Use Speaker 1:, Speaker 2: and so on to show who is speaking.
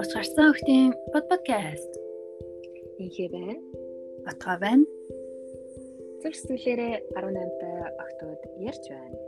Speaker 1: Ус гарсан хөтийн подкаст
Speaker 2: Инхээ байна.
Speaker 1: отгоо байна.
Speaker 2: Зөв сүүлээрээ 18 та октод ярьж байна.